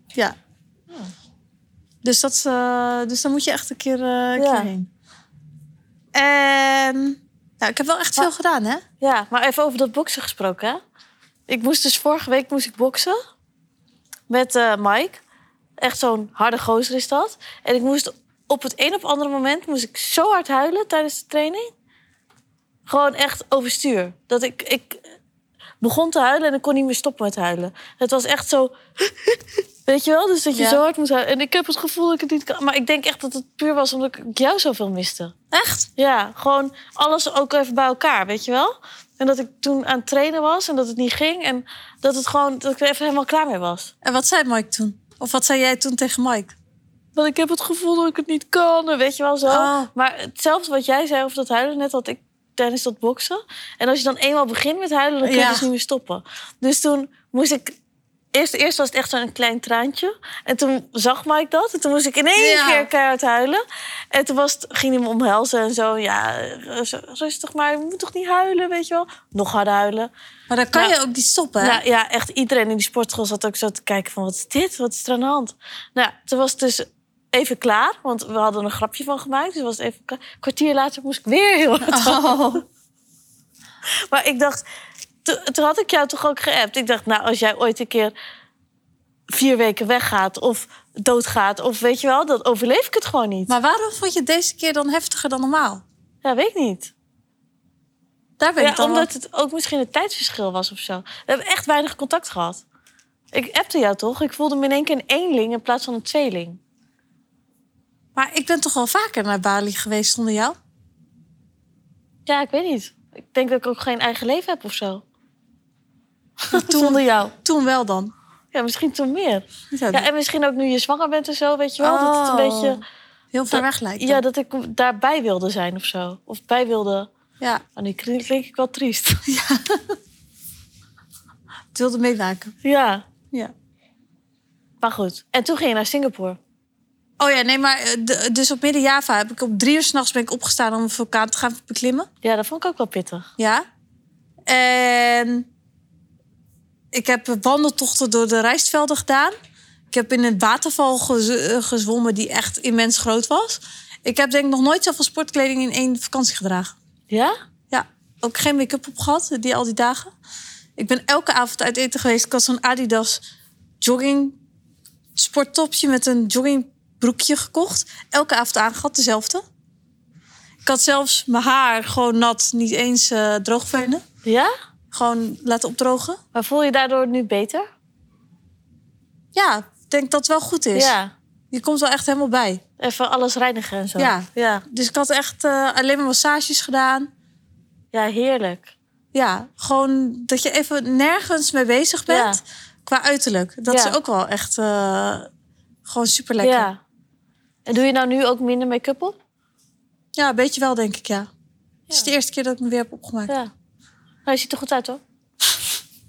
Speaker 2: Ja. Dus, dat, is, eh, dus dan moet je echt een keer, eh, een
Speaker 1: Ja.
Speaker 2: keer heen. En nou, ik heb wel echt
Speaker 1: Maar-
Speaker 2: veel gedaan, hè?
Speaker 1: Ja, maar even over dat boksen gesproken. Hè? Ik moest dus vorige week moest ik boksen met eh, Mike. Echt zo'n harde gozer is dat. En ik moest op het een op andere moment moest ik zo hard huilen tijdens de training. Gewoon echt overstuur. Dat ik, ik begon te huilen en ik kon niet meer stoppen met huilen. Het was echt zo. Weet je wel? Dus dat je
Speaker 2: Ja.
Speaker 1: zo hard moest huilen. En ik heb het gevoel dat ik het niet kan. Maar ik denk echt dat het puur was omdat ik jou zoveel miste.
Speaker 2: Echt?
Speaker 1: Ja, gewoon alles ook even bij elkaar, weet je wel? En dat ik toen aan het trainen was en dat het niet ging. En dat, het gewoon, dat ik er even helemaal klaar mee was.
Speaker 2: En wat zei Mike toen? Of wat zei jij toen tegen Mike?
Speaker 1: Want ik heb het gevoel dat ik het niet kan, en weet je wel zo.
Speaker 2: Ah.
Speaker 1: Maar hetzelfde wat jij zei over dat huilen net had ik tijdens dat boksen. En als je dan eenmaal begint met huilen, dan kun je
Speaker 2: Ja.
Speaker 1: dus niet meer stoppen. Dus toen moest ik... Eerst, eerst was het echt zo'n klein traantje. En toen zag Mike dat. En toen moest ik in één
Speaker 2: Ja.
Speaker 1: keer keihard huilen. En toen was het, ging hij me omhelzen en zo. Ja, rus- rustig maar. Je moet toch niet huilen, weet je wel? Nog harder huilen.
Speaker 2: Maar dan kan
Speaker 1: Nou,
Speaker 2: je ook niet stoppen, hè?
Speaker 1: Ja, ja, echt iedereen in die sportschool zat ook zo te kijken van... wat is dit? Wat is er aan de hand? Nou, ja, toen was het dus even klaar. Want we hadden er een grapje van gemaakt. Dus was het even klaar. Een kwartier later moest ik weer heel hard
Speaker 2: Oh.
Speaker 1: Maar ik dacht, to- toen had ik jou toch ook geappt. Ik dacht, nou, als jij ooit een keer vier weken weggaat of doodgaat, of weet je wel, dan overleef ik het gewoon niet.
Speaker 2: Maar waarom vond je het deze keer dan heftiger dan normaal?
Speaker 1: Ja, weet ik niet.
Speaker 2: Daar ben
Speaker 1: Ja,
Speaker 2: ik dan
Speaker 1: omdat het ook misschien het tijdsverschil was of zo. We hebben echt weinig contact gehad. Ik appte jou toch? Ik voelde me in één keer een eenling in plaats van een tweeling.
Speaker 2: wel- Maar ik ben toch wel vaker naar Bali geweest zonder jou?
Speaker 1: Ja, ik weet niet. Ik denk dat ik ook geen eigen leven heb of zo.
Speaker 2: toen-
Speaker 1: Zonder jou.
Speaker 2: Toen wel dan.
Speaker 1: Ja, misschien toen meer.
Speaker 2: Ja,
Speaker 1: Ja, en misschien ook nu je zwanger bent en zo, weet je wel. Dat het een
Speaker 2: Oh.
Speaker 1: beetje...
Speaker 2: heel ver weg lijkt
Speaker 1: Ja,
Speaker 2: dan.
Speaker 1: dat ik daarbij wilde zijn of zo. Of bij wilde.
Speaker 2: Ja,
Speaker 1: Oh, nu klink, klink ik wel triest.
Speaker 2: het wilde meemaken.
Speaker 1: ja,
Speaker 2: Ja.
Speaker 1: maar goed. En toen ging je naar Singapore.
Speaker 2: Oh ja, nee, maar eh, de- dus op midden Java heb ik om drie uur s'nachts ben ik opgestaan om een vulkaan te gaan beklimmen.
Speaker 1: Ja, dat vond ik ook wel pittig.
Speaker 2: Ja. En ik heb wandeltochten door de rijstvelden gedaan. Ik heb in een waterval gez- eh, gezwommen die echt immens groot was. Ik heb denk ik nog nooit zoveel sportkleding in één vakantie gedragen.
Speaker 1: Ja?
Speaker 2: Ja, ook geen make-up op gehad die al die dagen. Ik ben elke avond uit eten geweest. Ik had zo'n Adidas jogging sporttopje met een joggingbroekje gekocht. Elke avond aangehad, dezelfde. Ik had zelfs mijn haar gewoon nat, niet eens eh droogvenen.
Speaker 1: Ja?
Speaker 2: Gewoon laten opdrogen.
Speaker 1: Maar voel je daardoor nu beter?
Speaker 2: Ja, ik denk dat het wel goed is.
Speaker 1: Ja.
Speaker 2: Je komt wel echt helemaal bij.
Speaker 1: Even alles reinigen en zo.
Speaker 2: Ja.
Speaker 1: Ja,
Speaker 2: Dus ik had echt eh, alleen maar massages gedaan.
Speaker 1: ja heerlijk.
Speaker 2: Ja, gewoon dat je even nergens mee bezig bent. Qua uiterlijk. Dat
Speaker 1: Ja.
Speaker 2: is ook wel echt eh, gewoon super lekker. Ja.
Speaker 1: Ja. En doe je nou nu ook minder make-up op?
Speaker 2: een beetje wel, denk ik, ja. Het is
Speaker 1: Ja.
Speaker 2: de eerste keer dat ik me weer heb opgemaakt.
Speaker 1: Ja. Nou, je ziet er goed uit, hoor.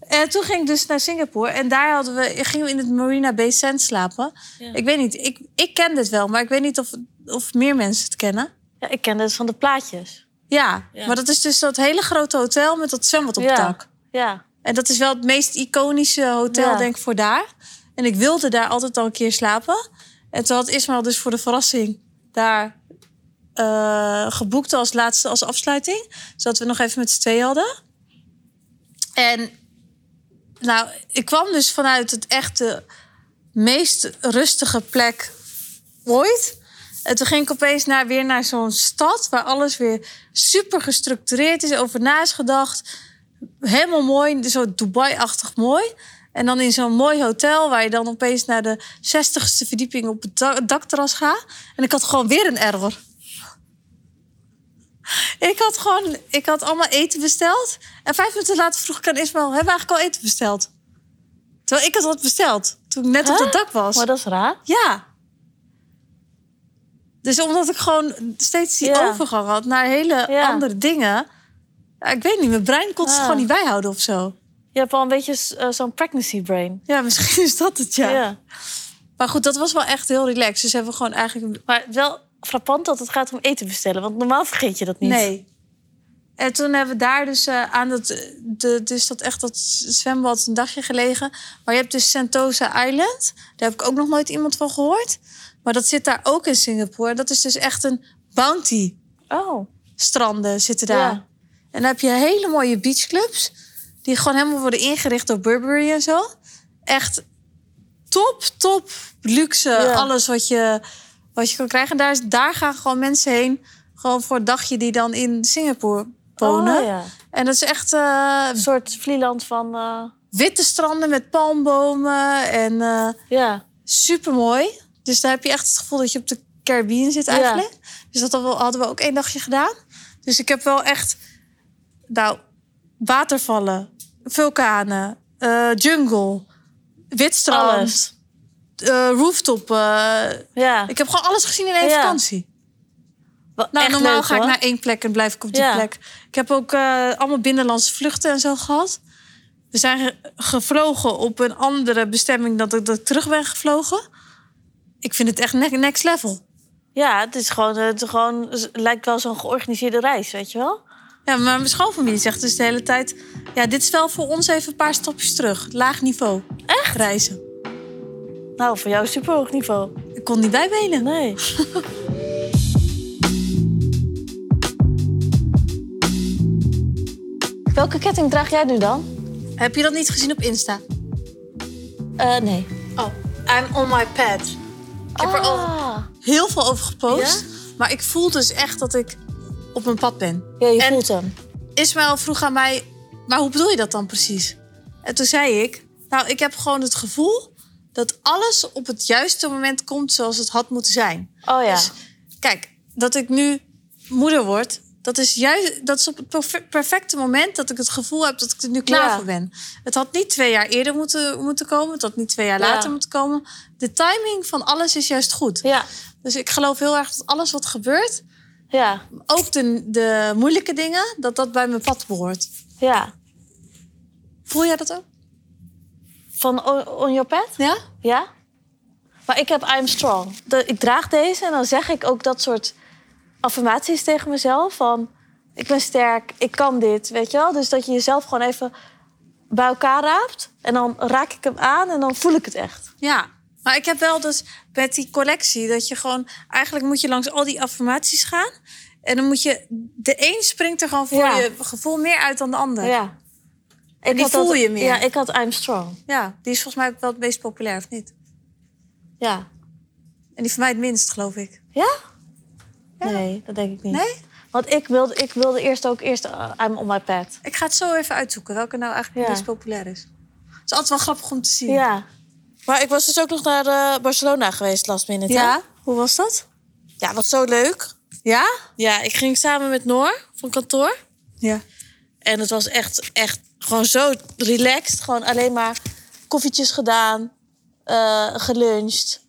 Speaker 2: En toen ging ik dus naar Singapore. En daar hadden we, gingen we in het Marina Bay Sands slapen.
Speaker 1: Ja.
Speaker 2: Ik weet niet, ik, ik ken dit wel. Maar ik weet niet of, of meer mensen het kennen.
Speaker 1: Ja, ik ken het van de plaatjes.
Speaker 2: Ja,
Speaker 1: Ja.
Speaker 2: maar dat is dus dat hele grote hotel met dat zwembad op het
Speaker 1: Ja.
Speaker 2: dak.
Speaker 1: Ja.
Speaker 2: En dat is wel het meest iconische hotel,
Speaker 1: Ja.
Speaker 2: denk ik, voor daar. En ik wilde daar altijd al een keer slapen. En toen had Ismael dus voor de verrassing daar eh, geboekt als laatste, als afsluiting. Zodat we nog even met z'n twee hadden. En nou, ik kwam dus vanuit het echte meest rustige plek ooit. En toen ging ik opeens naar, weer naar zo'n stad waar alles weer super gestructureerd is, over na is gedacht. Helemaal mooi, zo Dubai-achtig mooi. En dan in zo'n mooi hotel waar je dan opeens naar de 60ste verdieping op het da- dakterras gaat. En ik had gewoon weer een error. Ik had gewoon, ik had allemaal eten besteld. En vijf minuten later vroeg ik aan Ismael, hebben we eigenlijk al eten besteld? Terwijl ik had wat besteld, toen ik net op
Speaker 1: Huh?
Speaker 2: het dak was.
Speaker 1: Maar dat is raar.
Speaker 2: Ja. Dus omdat ik gewoon steeds die
Speaker 1: Ja.
Speaker 2: overgang had naar hele
Speaker 1: Ja.
Speaker 2: andere dingen. Ja, ik weet niet, mijn brein kon het
Speaker 1: Ah.
Speaker 2: gewoon niet bijhouden of zo.
Speaker 1: Je hebt al een beetje s- eh, zo'n pregnancy brain.
Speaker 2: Ja, misschien is dat het, ja. Maar goed, dat was wel echt heel relaxed. Dus hebben we gewoon eigenlijk...
Speaker 1: Maar wel frappant dat het gaat om eten bestellen. Want normaal vergeet je dat niet.
Speaker 2: Nee. En toen hebben we daar dus eh, aan dat, de, dus dat, echt dat zwembad een dagje gelegen. Maar je hebt dus Sentosa Island. Daar heb ik ook nog nooit iemand van gehoord. Maar dat zit daar ook in Singapore. Dat is dus echt een bounty
Speaker 1: Oh.
Speaker 2: stranden zitten daar.
Speaker 1: Ja.
Speaker 2: En dan heb je hele mooie beachclubs. Die gewoon helemaal worden ingericht door Burberry en zo. Echt top, top luxe.
Speaker 1: Ja.
Speaker 2: Alles wat je, wat je kan krijgen. En daar, is- daar gaan gewoon mensen heen. Gewoon voor het dagje die dan in Singapore wonen.
Speaker 1: Oh, ja.
Speaker 2: En dat is echt eh,
Speaker 1: Een soort Vlieland van... eh,
Speaker 2: witte stranden met palmbomen. En eh
Speaker 1: ja.
Speaker 2: super mooi. Dus daar heb je echt het gevoel dat je op de Caribbean zit
Speaker 1: Ja.
Speaker 2: eigenlijk. Dus dat hadden we- hadden we ook één dagje gedaan. Dus ik heb wel echt, nou, watervallen, vulkanen, eh, jungle, wit strand,
Speaker 1: Alles.
Speaker 2: eh, rooftop. eh,
Speaker 1: Ja.
Speaker 2: ik heb gewoon alles gezien in één
Speaker 1: Ja.
Speaker 2: vakantie.
Speaker 1: Wel
Speaker 2: Nou,
Speaker 1: echt
Speaker 2: normaal
Speaker 1: leuk,
Speaker 2: ga ik
Speaker 1: hoor.
Speaker 2: naar één plek en blijf ik op die
Speaker 1: Ja.
Speaker 2: plek. Ik heb ook eh, allemaal binnenlandse vluchten en zo gehad. We zijn ge- gevlogen op een andere bestemming dan dat ik, dat ik terug ben gevlogen. Ik vind het echt ne- next level.
Speaker 1: Ja, het is gewoon... eh, Het, is gewoon, het lijkt wel zo'n georganiseerde reis, weet je wel?
Speaker 2: Ja, maar mijn schoonfamilie zegt dus de hele tijd... Ja, dit is wel voor ons even een paar stapjes terug. Laag niveau. Echt? Reizen.
Speaker 1: Nou, voor jou super hoog niveau.
Speaker 2: Ik kon niet bijbenen.
Speaker 1: Nee. Welke ketting draag jij nu dan?
Speaker 2: Heb je dat niet gezien op Insta?
Speaker 1: Eh, nee.
Speaker 2: Oh, I'm on my pad. Ik heb er al
Speaker 1: Ah.
Speaker 2: heel veel over gepost. Maar ik voel dus echt dat ik op mijn pad ben.
Speaker 1: Ja, je
Speaker 2: En-
Speaker 1: voelt hem.
Speaker 2: Ismaël vroeg aan mij, maar hoe bedoel je dat dan precies? En toen zei ik, nou, ik heb gewoon het gevoel dat alles op het juiste moment komt zoals het had moeten zijn.
Speaker 1: Oh ja.
Speaker 2: Dus kijk, dat ik nu moeder word, dat is juist dat is op het perfe- perfecte moment dat ik het gevoel heb dat ik er nu klaar
Speaker 1: Ja.
Speaker 2: voor ben. Het had niet twee jaar eerder moeten, moeten komen, het had niet twee jaar
Speaker 1: Ja.
Speaker 2: later moeten komen. De timing van alles is juist goed.
Speaker 1: Ja,
Speaker 2: Dus ik geloof heel erg dat alles wat gebeurt,
Speaker 1: ja,
Speaker 2: ook de, de moeilijke dingen, dat dat bij mijn pad behoort.
Speaker 1: ja.
Speaker 2: Voel jij dat ook?
Speaker 1: Van On, on Your Pet?
Speaker 2: Ja?
Speaker 1: Ja. Maar ik heb I'm Strong. De- ik draag deze en dan zeg ik ook dat soort affirmaties tegen mezelf. Van, ik ben sterk, ik kan dit, weet je wel? Dus dat je jezelf gewoon even bij elkaar raapt. En dan raak ik hem aan en dan voel ik het echt.
Speaker 2: Ja. Maar ik heb wel dus met die collectie dat je gewoon... Eigenlijk moet je langs al die affirmaties gaan. En dan moet je... De een springt er gewoon voor
Speaker 1: Ja.
Speaker 2: je gevoel meer uit dan de ander. Ja.
Speaker 1: Ja. Ik
Speaker 2: die
Speaker 1: had dat-
Speaker 2: voel je meer.
Speaker 1: Ja, ik had I'm Strong.
Speaker 2: Die is volgens mij ook wel het meest populair, of niet?
Speaker 1: Ja.
Speaker 2: En die van mij het minst, geloof ik.
Speaker 1: Ja?
Speaker 2: Ja.
Speaker 1: Nee, dat denk ik niet.
Speaker 2: Nee?
Speaker 1: Want ik wilde, ik wilde eerst ook eerst eh, I'm on my pad.
Speaker 2: Ik ga het zo even uitzoeken welke nou eigenlijk
Speaker 1: Ja.
Speaker 2: het meest populair is. Het is altijd wel grappig om te zien.
Speaker 1: Ja. Maar ik was dus ook nog naar eh, Barcelona geweest last minute. hè?
Speaker 2: Ja? Hoe was dat?
Speaker 1: Ja, was zo leuk.
Speaker 2: Ja?
Speaker 1: Ja, ik ging samen met Noor van kantoor.
Speaker 2: Ja.
Speaker 1: En het was echt, echt gewoon zo relaxed. Gewoon alleen maar koffietjes gedaan, eh, geluncht.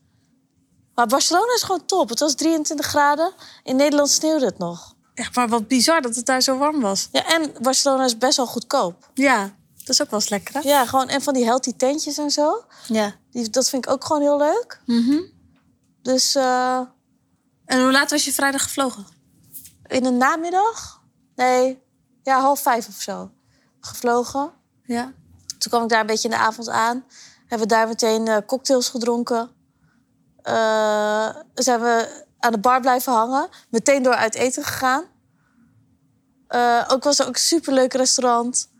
Speaker 1: Maar Barcelona is gewoon top. Het was 23 graden. In Nederland sneeuwde het nog.
Speaker 2: Echt maar wat bizar dat het daar zo warm was.
Speaker 1: Ja, en Barcelona is best wel goedkoop.
Speaker 2: Ja. Dat is ook wel eens lekker, hè?
Speaker 1: Ja, gewoon en van die healthy tentjes en zo.
Speaker 2: Ja. Mhm.
Speaker 1: Die, dat vind ik ook gewoon heel leuk. Dus eh,
Speaker 2: En hoe laat was je vrijdag gevlogen?
Speaker 1: in de namiddag? Nee, ja, half vijf of zo. Gevlogen.
Speaker 2: Ja.
Speaker 1: Toen kwam ik daar een beetje in de avond aan. Hebben we daar meteen eh, cocktails gedronken. Eh, zijn we aan de bar blijven hangen. Meteen door uit eten gegaan. Eh, ook was er ook een superleuk restaurant.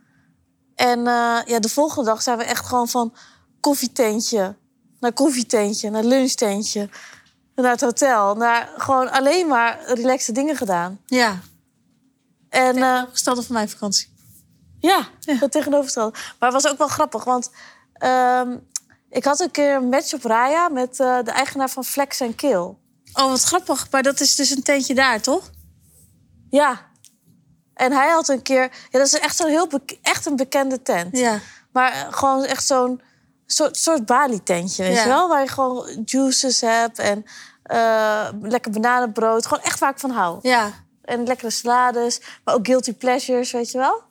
Speaker 1: En eh, ja, de volgende dag zijn we echt gewoon van koffietentje naar koffietentje, naar lunchtentje, naar het hotel. Naar gewoon alleen maar relaxe dingen gedaan.
Speaker 2: Ja.
Speaker 1: En eh,
Speaker 2: Gestelde van mijn vakantie.
Speaker 1: ja, het tegenovergestelde. Maar het was ook wel grappig, want ehm, ik had een keer een match op Raya met eh, de eigenaar van Flex en Kill.
Speaker 2: Oh, wat grappig. Maar dat is dus een tentje daar, toch?
Speaker 1: Ja. En hij had een keer, ja, dat is echt zo'n heel bek- echt een bekende tent.
Speaker 2: Ja.
Speaker 1: Maar eh, gewoon echt zo'n soort, soort Bali-tentje, weet
Speaker 2: Ja.
Speaker 1: je wel? Waar je gewoon juices hebt en eh, lekker bananenbrood. Gewoon echt waar ik van hou.
Speaker 2: Ja.
Speaker 1: En lekkere salades. Maar ook guilty pleasures, weet je wel.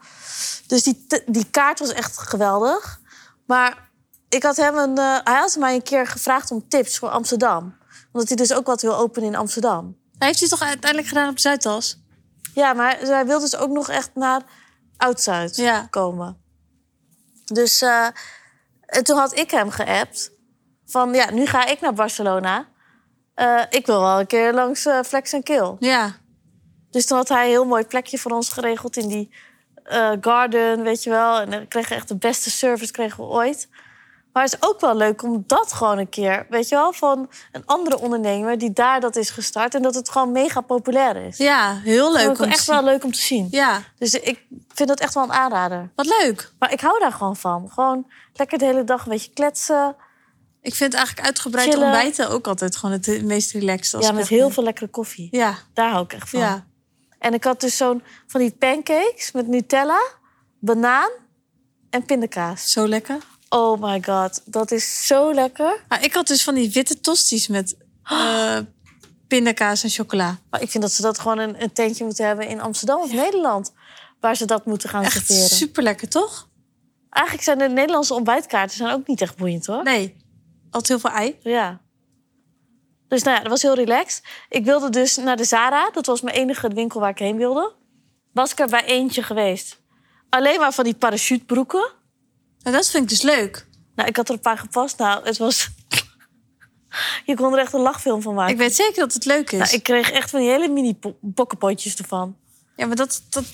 Speaker 1: Dus die, t- die kaart was echt geweldig. Maar ik had hem een, eh, hij had mij een keer gevraagd om tips voor Amsterdam. Omdat hij dus ook wat wil openen in Amsterdam.
Speaker 2: Hij heeft hij toch uiteindelijk gedaan op de Zuidas?
Speaker 1: Ja, maar hij- hij wil dus ook nog echt naar Oud-Zuid
Speaker 2: Ja.
Speaker 1: komen. Dus eh, en toen had ik hem geappt. Van ja, nu ga ik naar Barcelona. Eh, ik wil wel een keer langs eh, Flex en Kill.
Speaker 2: Ja.
Speaker 1: Dus toen had hij een heel mooi plekje voor ons geregeld in die eh, garden, weet je wel. En we kregen echt de beste service kregen we ooit. Maar het is ook wel leuk om dat gewoon een keer, weet je wel, van een andere ondernemer die daar dat is gestart en dat het gewoon mega populair is.
Speaker 2: Ja, heel
Speaker 1: Dat
Speaker 2: leuk
Speaker 1: vond ik
Speaker 2: om
Speaker 1: echt
Speaker 2: te zien.
Speaker 1: wel leuk om te zien.
Speaker 2: Ja,
Speaker 1: Dus ik vind dat echt wel een aanrader.
Speaker 2: wat leuk.
Speaker 1: Maar ik hou daar gewoon van. Gewoon lekker de hele dag een beetje kletsen.
Speaker 2: Ik vind eigenlijk uitgebreid
Speaker 1: Chillen.
Speaker 2: ontbijten ook altijd gewoon het meest relaxed. Als
Speaker 1: ja,
Speaker 2: ik
Speaker 1: met
Speaker 2: echt-
Speaker 1: heel Oh. veel lekkere koffie.
Speaker 2: Ja,
Speaker 1: Daar hou ik echt van.
Speaker 2: ja.
Speaker 1: En ik had dus zo'n van die pancakes met Nutella, banaan en pindakaas.
Speaker 2: Zo lekker.
Speaker 1: Oh my god, dat is zo lekker.
Speaker 2: Ah, ik had dus van die witte tosties met eh, pindakaas en chocola.
Speaker 1: Maar ik vind dat ze dat gewoon een, een tentje moeten hebben in Amsterdam of Nederland. Waar ze dat moeten gaan
Speaker 2: Echt
Speaker 1: serveren.
Speaker 2: super lekker, toch?
Speaker 1: Eigenlijk zijn de Nederlandse ontbijtkaarten zijn ook niet echt boeiend hoor.
Speaker 2: Nee. Altijd heel veel ei.
Speaker 1: Ja. Dus nou ja, dat was heel relaxed. Ik wilde dus naar de Zara. Dat was mijn enige winkel waar ik heen wilde. Was ik er bij eentje geweest. Alleen maar van die parachutebroeken.
Speaker 2: Nou, dat vind ik dus leuk.
Speaker 1: Nou, ik had er een paar gepast. Nou, het was... Je kon er echt een lachfilm van maken.
Speaker 2: Ik weet zeker dat het leuk is.
Speaker 1: Nou, ik kreeg echt van die hele mini po- bokkenpotjes ervan.
Speaker 2: Ja, maar dat, dat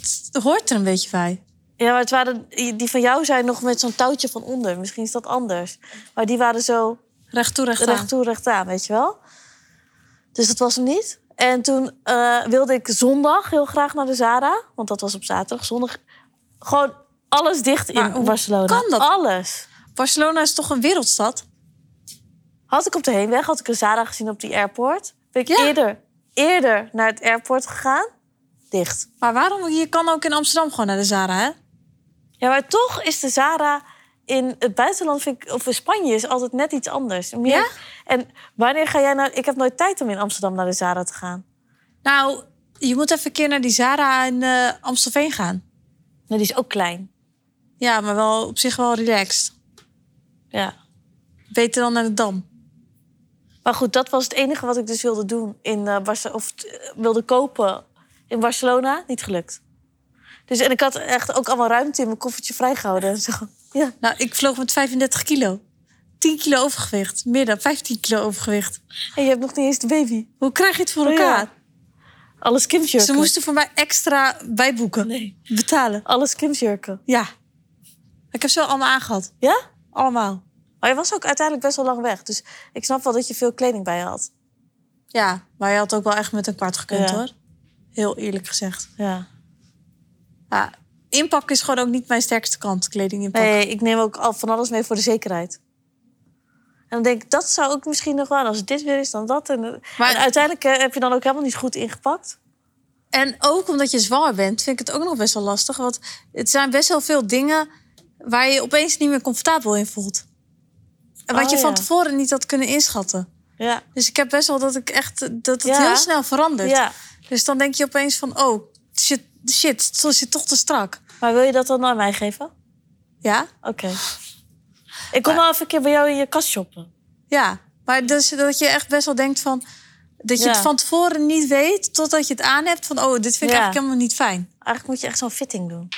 Speaker 2: hoort er een beetje bij.
Speaker 1: Ja, maar het waren... Die van jou zijn nog met zo'n touwtje van onder. Misschien is dat anders. Maar die waren zo...
Speaker 2: Recht toe, recht aan.
Speaker 1: recht toe, recht aan, weet je wel. Dus dat was hem niet. En toen eh, wilde ik zondag heel graag naar de Zara. Want dat was op zaterdag. Zondag gewoon alles dicht in
Speaker 2: Maar hoe
Speaker 1: Barcelona.
Speaker 2: kan dat?
Speaker 1: Alles.
Speaker 2: Barcelona is toch een wereldstad?
Speaker 1: Had ik op de heenweg, had ik een Zara gezien op die airport. Ben ik
Speaker 2: Ja.
Speaker 1: eerder, eerder naar het airport gegaan. Dicht.
Speaker 2: Maar waarom? Je kan ook in Amsterdam gewoon naar de Zara, hè?
Speaker 1: Ja, maar toch is de Zara in het buitenland, vind ik, of in Spanje, is altijd net iets anders. Meer-
Speaker 2: Ja?
Speaker 1: En wanneer ga jij naar... Ik heb nooit tijd om in Amsterdam naar de Zara te gaan.
Speaker 2: Nou, je moet even een keer naar die Zara in eh, Amstelveen gaan.
Speaker 1: Nee, die is ook klein.
Speaker 2: Ja, maar wel op zich wel relaxed.
Speaker 1: Ja.
Speaker 2: Beter dan naar de Dam.
Speaker 1: Maar goed, dat was het enige wat ik dus wilde doen in eh, Barce- of eh, wilde kopen in Barcelona. Niet gelukt. Dus en ik had echt ook allemaal ruimte in mijn koffertje vrijgehouden en zo. Ja.
Speaker 2: Nou, ik vloog met 35 kilo. 10 kilo overgewicht. Meer dan 15 kilo overgewicht.
Speaker 1: En je hebt nog niet eens de baby.
Speaker 2: Hoe krijg je het voor
Speaker 1: Oh, ja.
Speaker 2: elkaar?
Speaker 1: Alle skimjurken.
Speaker 2: Ze moesten voor mij extra bijboeken.
Speaker 1: Nee.
Speaker 2: Betalen.
Speaker 1: Alle skimjurken.
Speaker 2: Ja. Ik heb ze wel allemaal aangehad.
Speaker 1: Ja?
Speaker 2: Allemaal.
Speaker 1: Maar je was ook uiteindelijk best wel lang weg. Dus ik snap wel dat je veel kleding bij je had.
Speaker 2: Ja, maar je had ook wel echt met een kwart gekund,
Speaker 1: Ja.
Speaker 2: hoor. Heel eerlijk gezegd.
Speaker 1: Ja.
Speaker 2: Ja, inpakken is gewoon ook niet mijn sterkste kant, kleding inpakken.
Speaker 1: Nee, ik neem ook al van alles mee voor de zekerheid. En dan denk ik, dat zou ook misschien nog wel... als het dit weer is, dan dat. En,
Speaker 2: Maar-
Speaker 1: en uiteindelijk eh, heb je dan ook helemaal niet goed ingepakt.
Speaker 2: En ook omdat je zwanger bent, vind ik het ook nog best wel lastig. Want het zijn best wel veel dingen waar je je opeens niet meer comfortabel in voelt. En wat
Speaker 1: Oh,
Speaker 2: je van
Speaker 1: ja.
Speaker 2: tevoren niet had kunnen inschatten.
Speaker 1: Ja.
Speaker 2: Dus ik heb best wel dat ik echt dat het
Speaker 1: Ja.
Speaker 2: heel snel verandert.
Speaker 1: Ja.
Speaker 2: Dus dan denk je opeens van, oh, shit, shit, zo zit toch te strak.
Speaker 1: Maar wil je dat dan aan mij geven?
Speaker 2: Ja,
Speaker 1: Oké. Ik kom wel even een keer bij jou in je kast shoppen.
Speaker 2: ja. Maar dus dat je echt best wel denkt van, dat je
Speaker 1: Ja.
Speaker 2: het van tevoren niet weet, totdat je het aan hebt van, oh, dit vind ik
Speaker 1: Ja.
Speaker 2: eigenlijk helemaal niet fijn.
Speaker 1: Eigenlijk moet je echt zo'n fitting doen.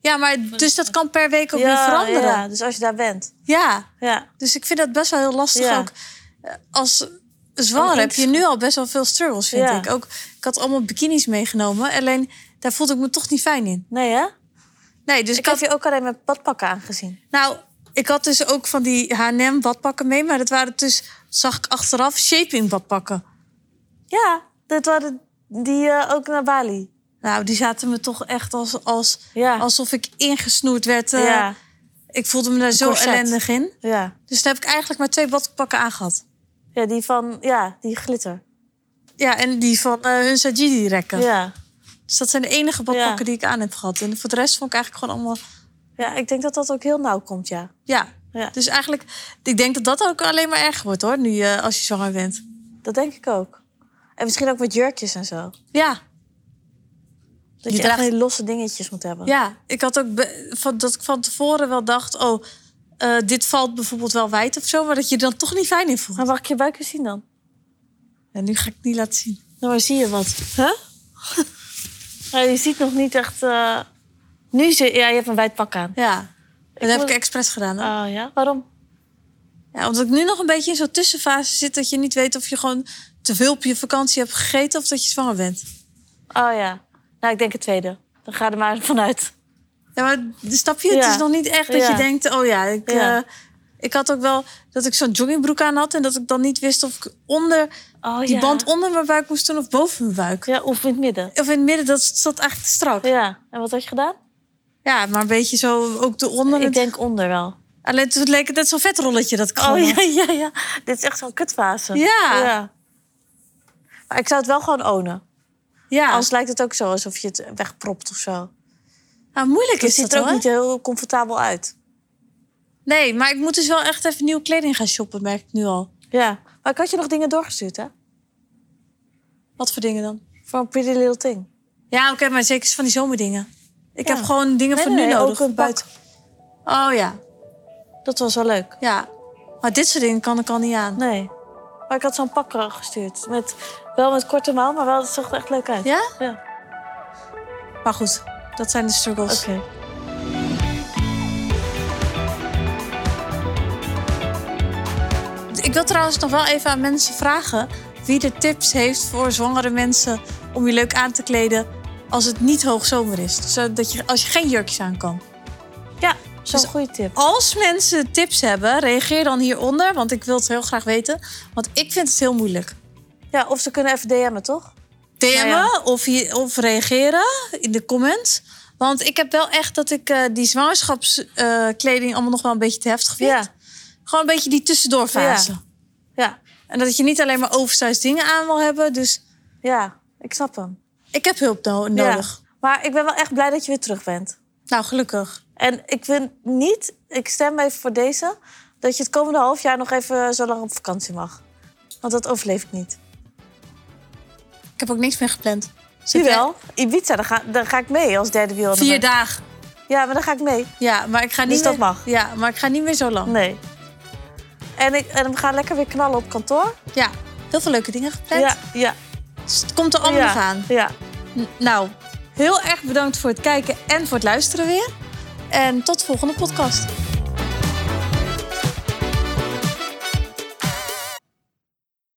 Speaker 2: Ja, maar dus dat kan per week ook weer veranderen.
Speaker 1: ja,
Speaker 2: Ja.
Speaker 1: dus als je daar bent. Ja.
Speaker 2: dus ik vind dat best wel heel lastig
Speaker 1: Ja.
Speaker 2: ook. Eh, Als zwanger
Speaker 1: Om in
Speaker 2: heb
Speaker 1: te
Speaker 2: je nu al best wel veel struggles, vind
Speaker 1: Ja.
Speaker 2: ik. Ook, ik had allemaal bikinis meegenomen, alleen daar voelde ik me toch niet fijn in.
Speaker 1: Nee, hè?
Speaker 2: Nee, dus
Speaker 1: Dus ik
Speaker 2: ik had,
Speaker 1: heb je ook alleen met badpakken aangezien.
Speaker 2: nou, ik had dus ook van die H&M badpakken mee, maar dat waren dus, zag ik achteraf, shaping badpakken.
Speaker 1: Ja, dit waren die eh, ook naar Bali.
Speaker 2: Nou, die zaten me toch echt als, als,
Speaker 1: Ja.
Speaker 2: alsof ik ingesnoerd werd. eh,
Speaker 1: ja.
Speaker 2: Ik voelde me daar zo
Speaker 1: Corset.
Speaker 2: ellendig in.
Speaker 1: ja.
Speaker 2: Dus daar heb ik eigenlijk maar twee badpakken aangehad.
Speaker 1: Ja, die van... Ja, die glitter.
Speaker 2: Ja, en die van eh hun Sajidi-rekken.
Speaker 1: Ja. ja.
Speaker 2: Dus dat zijn de enige badpakken
Speaker 1: Ja.
Speaker 2: die ik aan heb gehad. En voor de rest vond ik eigenlijk gewoon allemaal...
Speaker 1: ik denk dat dat ook heel nauw komt, ja.
Speaker 2: Ja.
Speaker 1: Ja.
Speaker 2: Dus eigenlijk, ik denk dat dat ook alleen maar erger wordt hoor, nu eh, als je zwanger bent.
Speaker 1: Dat denk ik ook. En misschien ook met jurkjes en zo.
Speaker 2: Ja,
Speaker 1: Dat je,
Speaker 2: Je
Speaker 1: echt
Speaker 2: draagt-
Speaker 1: hele losse dingetjes moet hebben.
Speaker 2: Ja, ik had ook be- van, dat ik van tevoren wel dacht... oh, eh, dit valt bijvoorbeeld wel wijd of zo... maar dat je je dan toch niet fijn in voelt.
Speaker 1: Maar mag ik je buik eens zien dan?
Speaker 2: En nu ga ik het niet laten zien.
Speaker 1: Nou, maar zie je wat.
Speaker 2: Huh?
Speaker 1: Ja, je ziet nog niet echt... eh, Nu zie Ja, je hebt een wijd pak aan.
Speaker 2: Ja, dat heb
Speaker 1: moet-
Speaker 2: ik expres gedaan. Hoor.
Speaker 1: Ah ja? Waarom?
Speaker 2: Ja, omdat ik nu nog een beetje in zo'n tussenfase zit... dat je niet weet of je gewoon te veel op je vakantie hebt gegeten... of dat je zwanger bent.
Speaker 1: Oh ja. Nou, ik denk het tweede. Dan ga er maar vanuit.
Speaker 2: Ja, maar dus snap je? Het
Speaker 1: Ja.
Speaker 2: is nog niet echt dat
Speaker 1: Ja.
Speaker 2: je denkt... oh ja, ik,
Speaker 1: Ja.
Speaker 2: eh, ik had ook wel dat ik zo'n joggingbroek aan had... en dat ik dan niet wist of ik onder
Speaker 1: Oh,
Speaker 2: die
Speaker 1: ja.
Speaker 2: band onder mijn buik moest doen... of boven mijn buik.
Speaker 1: Ja, of in het midden.
Speaker 2: Of in het midden, dat zat eigenlijk te strak. Ja,
Speaker 1: Ja. En wat had je gedaan?
Speaker 2: maar een beetje zo ook de onder.
Speaker 1: Ik denk onder wel.
Speaker 2: Alleen toen leek het net zo'n vetrolletje dat ik gewoon
Speaker 1: Oh ja,
Speaker 2: had.
Speaker 1: ja, ja. Dit is echt zo'n kutfase.
Speaker 2: Ja.
Speaker 1: Maar ik zou het wel gewoon ownen.
Speaker 2: Ja,
Speaker 1: Anders lijkt het ook zo alsof je het wegpropt of zo.
Speaker 2: Nou, moeilijk
Speaker 1: Het
Speaker 2: is
Speaker 1: ziet
Speaker 2: dat
Speaker 1: er ook
Speaker 2: hoor.
Speaker 1: niet heel comfortabel uit.
Speaker 2: Nee, maar ik moet dus wel echt even nieuwe kleding gaan shoppen, merk ik nu al.
Speaker 1: Ja. Maar ik had je nog dingen doorgestuurd, hè?
Speaker 2: Wat voor dingen dan?
Speaker 1: Van Pretty Little Thing.
Speaker 2: Ja, oké, maar zeker is van die zomerdingen. Ik
Speaker 1: Ja.
Speaker 2: heb gewoon dingen
Speaker 1: Nee,
Speaker 2: voor
Speaker 1: nee,
Speaker 2: nu
Speaker 1: nee,
Speaker 2: nodig.
Speaker 1: ook een pak.
Speaker 2: buiten. Oh ja,
Speaker 1: Dat was wel leuk.
Speaker 2: ja. Maar dit soort dingen kan ik al niet aan.
Speaker 1: Nee. Maar ik had zo'n pak eh, gestuurd. Met, wel met korte mouw, maar wel, het zag er echt leuk uit.
Speaker 2: Ja?
Speaker 1: Ja.
Speaker 2: Maar goed, dat zijn de struggles.
Speaker 1: Oké.
Speaker 2: Ik wil trouwens nog wel even aan mensen vragen wie de tips heeft voor zwangere mensen om je leuk aan te kleden als het niet hoogzomer is. Zodat je, als je geen jurkjes aan kan.
Speaker 1: Ja, zo'n
Speaker 2: Dus-
Speaker 1: goede tip.
Speaker 2: Als mensen tips hebben, reageer dan hieronder, want ik wil het heel graag weten. Want ik vind het heel moeilijk.
Speaker 1: Ja, of ze kunnen even DM'en, toch?
Speaker 2: DM'en
Speaker 1: Nou ja.
Speaker 2: of, hier- of reageren in de comments. Want ik heb wel echt dat ik eh, die zwangerschapskleding eh, allemaal nog wel een beetje te heftig vind.
Speaker 1: Ja.
Speaker 2: Gewoon een beetje die tussendoorfase.
Speaker 1: Ja.
Speaker 2: En dat je niet alleen maar oversized dingen aan wil hebben. Dus
Speaker 1: Ja, ik snap hem.
Speaker 2: ik heb hulp no- nodig.
Speaker 1: Ja. Maar ik ben wel echt blij dat je weer terug bent.
Speaker 2: Nou, gelukkig.
Speaker 1: En ik vind niet, ik stem even voor deze, dat je het komende half jaar nog even zo lang op vakantie mag. Want dat overleef ik niet.
Speaker 2: Ik heb ook niks meer gepland.
Speaker 1: Zie
Speaker 2: Zit jij-
Speaker 1: wel, Ibiza, daar ga, daar ga ik mee als derde wiel. aan de
Speaker 2: Vier
Speaker 1: weg.
Speaker 2: dagen.
Speaker 1: Ja, maar daar ga ik mee.
Speaker 2: Ja, maar ik ga niet
Speaker 1: Dus dat
Speaker 2: meer...
Speaker 1: mag?
Speaker 2: Ja, maar ik ga niet meer zo lang.
Speaker 1: Nee. En, ik, en we gaan lekker weer knallen op kantoor.
Speaker 2: Ja, heel veel leuke dingen gepland.
Speaker 1: Ja, ja.
Speaker 2: Dus het komt er allemaal
Speaker 1: ja,
Speaker 2: nog aan.
Speaker 1: Ja.
Speaker 2: N- nou, heel erg bedankt voor het kijken en voor het luisteren weer. En tot de volgende podcast.